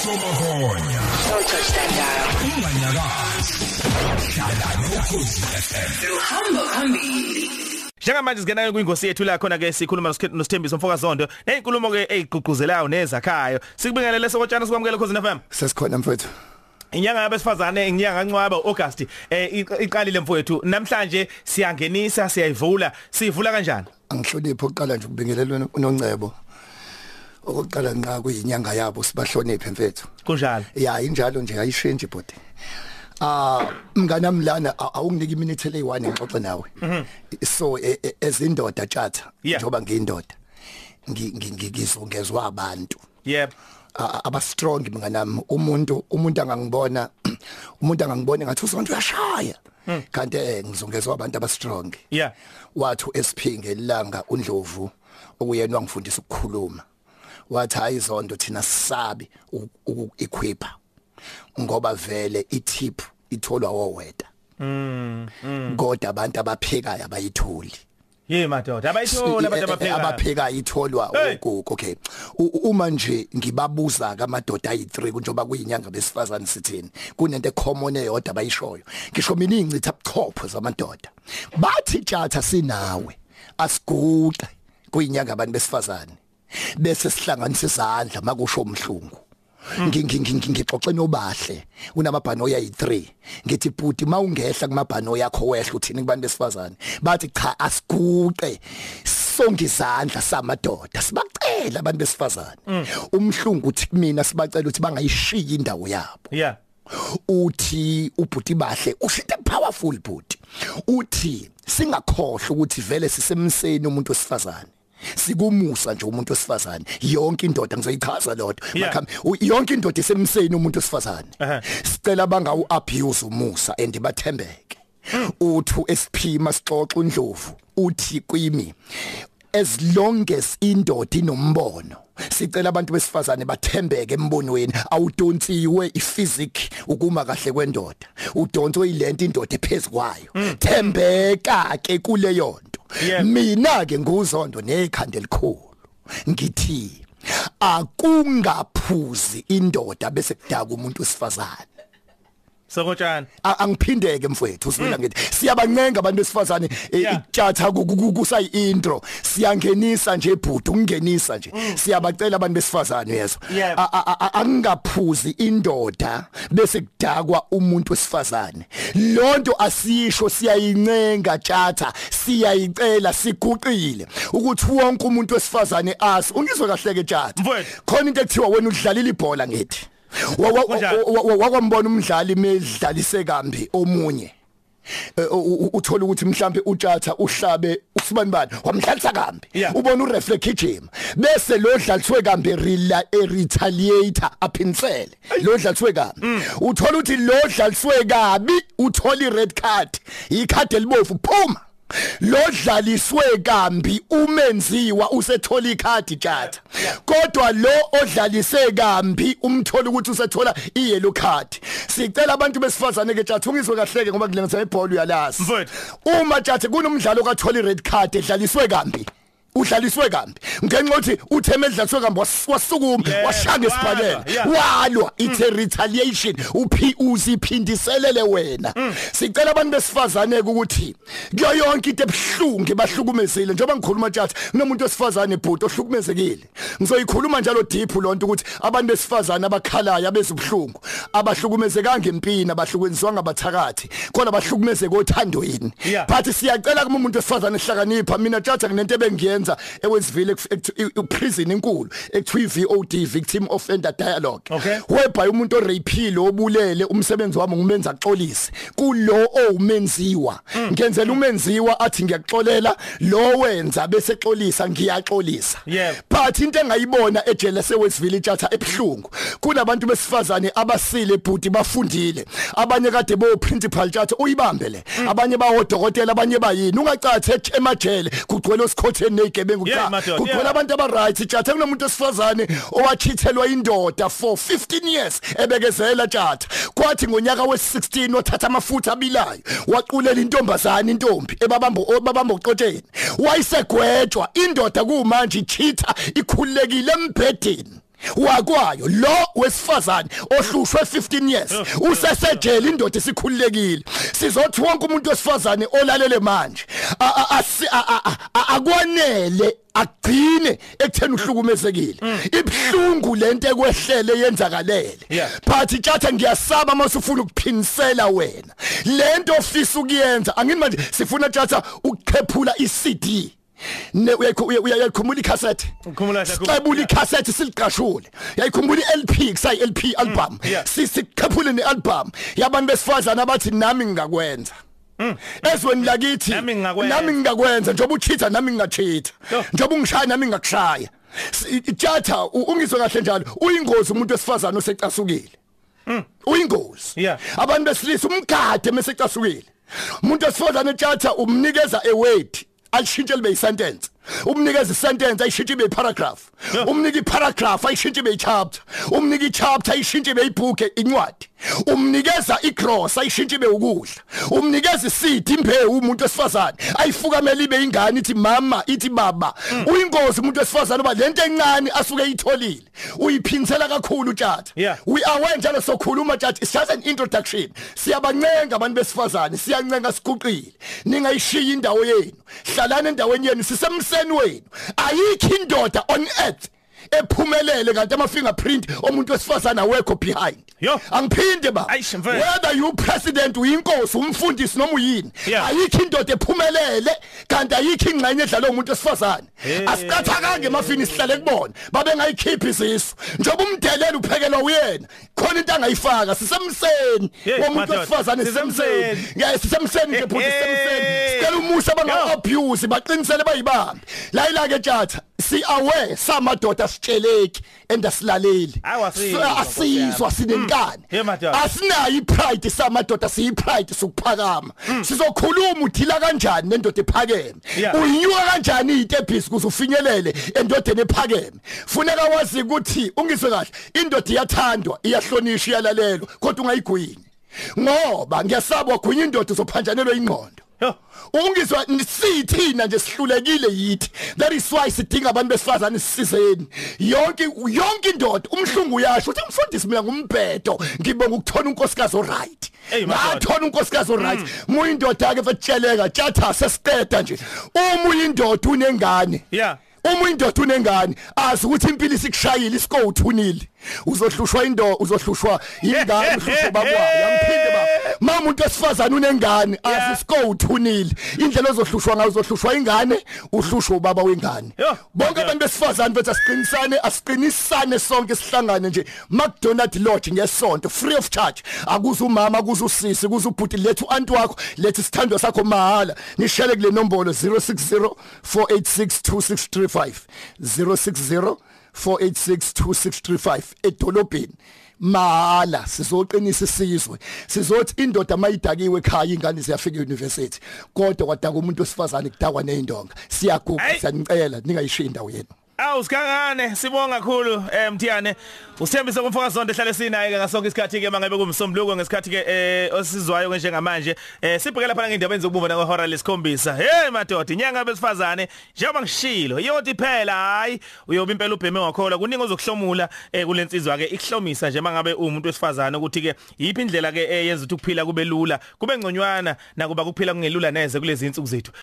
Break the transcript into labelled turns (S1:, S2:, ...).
S1: Ntokonya. Unganyakazi. Hlala nokhozi FM.
S2: Hamba phambili.
S3: Njengamanje singenayo kwingosi yethu la khona ke sikhuluma noSikhe- noSthembiso Mfokazondo nezinkulumo ke ezigqugquzelayo nezakhayo. Sikubingelele sokutshana sikwamukele khosini FM.
S4: Sesikhona mfowethu.
S3: Inyanga yabesifazane nginyanga kancwaba August eh iq- iqalile mfowethu. Namhlanje siyangenisa siyayivula. Sivula kanjani?
S4: Angihloniphe ukuqala nje ukubingelelwa uNongcebo. Okuqala nqa kuyinyanga yabo sibahloniphe mfethu.
S3: Kunjalo.
S4: Ya injalo nje ayishintshe bodi. Ah mngana mlana a- awunginiki iminute leyi1 ngixoxe nawe. So e- e- as indoda tjatha
S3: Yeah.
S4: njoba ngiyindoda. ngi- ngi- ngi- Ngizungezwe abantu.
S3: Yebo.
S4: a- aba strong mnganami umuntu umuntu angangibona umuntu angangibona ngathi usonto uyashaya kanti eh, ngizungezwe abantu aba strong
S3: Yeah.
S4: wathi uSphinge langa uNdlovu okuyena wangifundisa ukukhuluma wathi hayi zonto thina sisabi ukuequipa ngoba vele itip itholwa woweda mm kodwa abantu abaphekayo abayitholi
S3: Ye madoda. Abayithola abantu abaphekayo.
S4: eh, abapheka itholwa
S3: Hey.
S4: ugogo okay U- u- uma nje ngibabuza kamadoda ayi3 njoba kuyinyanga besifazane sithini kunento ecommon eyodwa bayishoyo ngisho mina incitha buchopho zamadoda bathi tjatha sinawe asiguqe kuyinyanga abantu besifazane bese sihlanganisa izandla makusho umhlungu ngingixoxe nobahle unamabhanoyi ayi3 ngithi bhuti mawungehla kumabhanoyi yakho wehla uthini kubantu besifazane bathi cha asiguqe sonke izandla samadoda sibacela abantu besifazane umhlungu uthi kumina sibacela ukuthi bangayishiyi indawo yabo
S3: Yeah.
S4: uthi ubhuti bahle ushite powerful bhuti uthi singakhohle ukuthi vele sisemseni umuntu osifazane sikumusa nje umuntu osifazane yonke indoda ngizoyichaza lodwa
S3: Yeah.
S4: Makhambi, u- yonke indoda isemseni umuntu osifazane
S3: Ehhe.
S4: sicela bangawu abuse umusa and bathembeke uthu SP masixoxa uNdlovu uthi kimi as long as indoda inombono sicela abantu besifazane bathembeke embonweni awudontsiwe iphysic ukuma kahle kwendoda udontswe ilento indoda ephezukwayo thembeka ke kuleyo nto
S3: Yebo.
S4: mina ke nguzondo nekhanda elikhulu ngithi akungaphuzi indoda bese kudaka umuntu osifazane
S3: Sokutshana.
S4: A- angiphindeke mfowethu usibona ngithi siyabancenga abantu besifazane e-
S3: Mm. Yeah.
S4: ikuthatha ku- ku- ku- kusayi intro siyangenisa nje ibhudu ungenisa nje siyabacela abantu besifazane yezo
S3: Mm. Yeah.
S4: A- a- a- a- angaphuzi indoda bese kudakwa umuntu wesifazane lonto asisho siyayincenga tjatha siyayicela siguqile ukuthi wonke umuntu wesifazane asi ungizwe kahle ke tjatha
S3: Mfowethu.
S4: khona into ekuthiwa wena udlalile ibhola ngithi Wa- wa-
S3: Kunjani?
S4: wa- wa- wakwambona umdlali medlalise kambi omunye Eh, u- u- uthola ukuthi mhlambe utshatha uhlabe usibani bani wamdlalisa kambi
S3: Yeah.
S4: ubona urefle kijima bese lo dlaliswe kambi rila eretaliator aphinsele lo dlaliswe kambi uthola ukuthi lo dlaliswe kabi uthola i red card ikhadi elibofu phuma lo dlaliswe kambi umenziwa usethola ikhadi tjatha kodwa lo odlalise kambi umthola ukuthi usethola i yellow card sicela abantu besifazane ke tjatha ungizwe kahleke ngoba kulenza ibhola uyalazi
S3: Mfowethu.
S4: uma tjatha kunomdlalo kathola i red card edlaliswe kambi udlaliswe kambi ngenxa yokuthi utheme edlaliswe kambi was- wasukuma
S3: Yeah,
S4: washanga isibhalele
S3: walwa, yeah.
S4: walwa it's a retaliation uphi uziphindiselele wena sicela abantu besifazane ukuthi kuyo yonke into ebhlungu bahlukumezile njengoba ngikhuluma tjatha kunomuntu wesifazane ibhuti ohlukumezekile ngizoyikhuluma njalo deep lonto ukuthi abantu besifazane abakhalayo abezibhlungu abahlukumezekanga impini abahlukwenzwa ngabathakathi khona bahlukumezeke othandweni
S3: Yeah.
S4: but siyacela kuma umuntu wesifazane ehlakanipha mina tjatha nginento ebengiyenza ewesivile prison enkulu ekuthiwa VOD victim offender dialogue
S3: Okay.
S4: whereby umuntu orayphile obulele umsebenzi wami ngumenza axolise kulo owumenziwa ngenzela umenziwa athi ngiyaxolela lo wenza bese xolisa ngiyaxolisa
S3: Yebo.
S4: but into engayibona ejele sewesivile tjatha ebhlungu kunabantu besifazane abasile bhuti bafundile abanye kade bo principal tjatha uyibambe le abanye bawodokotela abanye bayini ungacathe emajele kugcwele osikhotheni nezigebengu
S3: Yeah,
S4: cha
S3: madoda,
S4: kugcwele
S3: yeah.
S4: abantu abaright tjatha kunomuntu osifazane owachithelwa indoda for 15 years ebekezela tjatha kwathi ngonyaka we16 wathatha amafutha abilayo waqulela intombazana intombi ebabamba babamba uqotsheni wayisegwetjwa indoda kumanje ichitha ikhululekile embhedeni wakwayo lo wesifazane ohlushwe 15 years usesejele indoda esikhululekile sizothi wonke umuntu wesifazane olalele manje a- a- asi- a- a- a- a- akwanele agcine ekutheni uhlukumezekile ibhlungu lento ekwehlele yenzakalele
S3: Yeah.
S4: phathi tjatha ngiyasaba mase ufuna ukuphinisela wena lento ofisa ukuyenza angini manje sifuna tjatha ukukhephula iCD ne uyayikhu- uya- uya- uyayikhumbula icassette
S3: Ngikhumula kahle, ngikhumula.
S4: sicebula icassette siliqashule yayikhumbula iLP kusayi LP album
S3: Mm, yeah.
S4: sikhephule nealbum yabantu besifazana abathi nami ngingakwenza ezweni lakithi
S3: Mm. Nami ngingakwenza.
S4: nami ngingakwenza njengoba uchitha nami ngingachitha
S3: Yo.
S4: njengoba ungishaya nami ngakushaya tjatha ungizwe kahle njalo uyingozi umuntu wesifazana osecasukile uyingozi
S3: Mm. Yeah.
S4: abantu besilisa umgade mesecasukile umuntu wesifazana tjatha umnikeza eword alishintshe libe yisentence umnikeza isentence ayishintshe ibe yiparagraph umnika iparagraph ayishintshe ibe yichapter umnika ichapter ayishintshe ibe yibhuke incwadi umnikeza igross ayishintshe ibe ukudla umnikeza iseed imbewu umuntu wesifazana ayifukamela ibe ingane ithi mama ithi baba uyingozi umuntu wesifazana oba lento encane asuke eyitholile uyiphinisela kakhulu tjatha
S3: Yeah.
S4: we are aware njalo sokhuluma tjati it's just an introduction siyabancenga abantu besifazane siyancenga siguqile ningayishiya indawo yenu hlalana endaweni yenu sisemseni wenu ayikho indoda on earth ephumelele kanti ama-fingerprint omuntu wesifazane awekho behind
S3: Yo.
S4: angiphinde ba
S3: Aish, mfethu.
S4: whether you president uyinkosi umfundisi noma uyini
S3: Yeah.
S4: ayikho indoda ephumelele kanti ayikho ingxenye edlalwe umuntu wesifazane asiqathakange emafini sihlale kubona babengayikhiphi izisu njengoba umdelela uphekelwa uyena khona into angayifaka sisemseni
S3: Hey,
S4: womuntu
S3: madoda,
S4: wesifazane sisemseni
S3: sisemseni.
S4: Yeah, sisemseni nje futhi sisemseni
S3: Hey.
S4: sicela umusha
S3: Yo.
S4: abanga-abuse baqinisele bayibambe layila ke tjatha si-aware samadoda asitsheleki and asilaleli
S3: Awu, asizwa,
S4: Sa-
S3: Nkosi
S4: asizwa
S3: Yeah,
S4: sinenkani
S3: Hmm. madoda.
S4: asinayo ipride samadoda siyipride sokuphakama sizokhuluma udila kanjani nendoda ephakeme
S3: Yeah.
S4: uyinyuka kanjani izitebhisi kuze ufinyelele endodeni ephakeme funeka wazi ukuthi ungizwe kahle indoda iyathandwa iyahlonishwa iyalalelwa kodwa ungayigwini ngoba ngiyasaba wagwinya indoda uzophanjanelwa ingqondo
S3: Yo.
S4: ungizwa sithina nje sihlulekile yithi that is why sidinga abantu besifazane sisizeni yonke yonke indoda umhlungu uyasho uthi mfundisi mina ngumbhedo ngibonga ukuthola unkosikazi oright
S3: Ey, madoda. Mm.
S4: ngathola unkosikazi oright muyindoda ke fetsheleka tjatha sesiteta nje uma uyindoda unengane
S3: Yeah.
S4: uma uyindoda unengane azi ukuthi impilo isikushayile isikoti unile uzohlushwa indo uzohlushwa ingane uhlushwa babwayo yamphinde baba mama umuntu wesifazane unengane azi
S3: Yeah.
S4: isikoti unile indlela ozohlushwa ngayo uzohlushwa ingane uhlushwa ubaba wengane
S3: Yo.
S4: bonke abantu besifazane bethu asiqinisane asiqinisane sonke sihlangane nje McDonald Lodge ngesonto free of charge akuze umama akuze usisi kuze ubhuti lethu anti wakho lethi sithandwa sakho mahala nishele kule nombolo 060 4862635 060 4862635 edolobheni mahala sizoqinisa isizwe sizothi indoda mayidakiwe ekhaya ingane ziyafika euniversity kodwa kwadaka umuntu osifazane kudakwa neyindonga siyagugu
S3: Hey.
S4: siyanicela ningayishiyi indawo yenu
S3: Awu sikangane sibonga kakhulu eh Mthiyane usithembise kumfoka zonke ehlale sinaye ke ngasonke isikhathi ke mangabe kumsombuluko ngesikhathi ke eh osizwayo ke njengamanje eh sibhekela phana ngendaba enzokubumba nakwehora lesikhombisa hey madoda inyanga besifazane njengoba ngishilo yoti phela hayi uyoba impela ubheme wakhola kuningi ozokuhlomula eh kulensizwa ke ikuhlomisa nje mangabe umuntu wesifazane ukuthi ke yiphi indlela ke eh, yenza ukuthi ukuphila kube lula kube ngconywana nakuba kuphila kungelula neze kulezi insuku zethu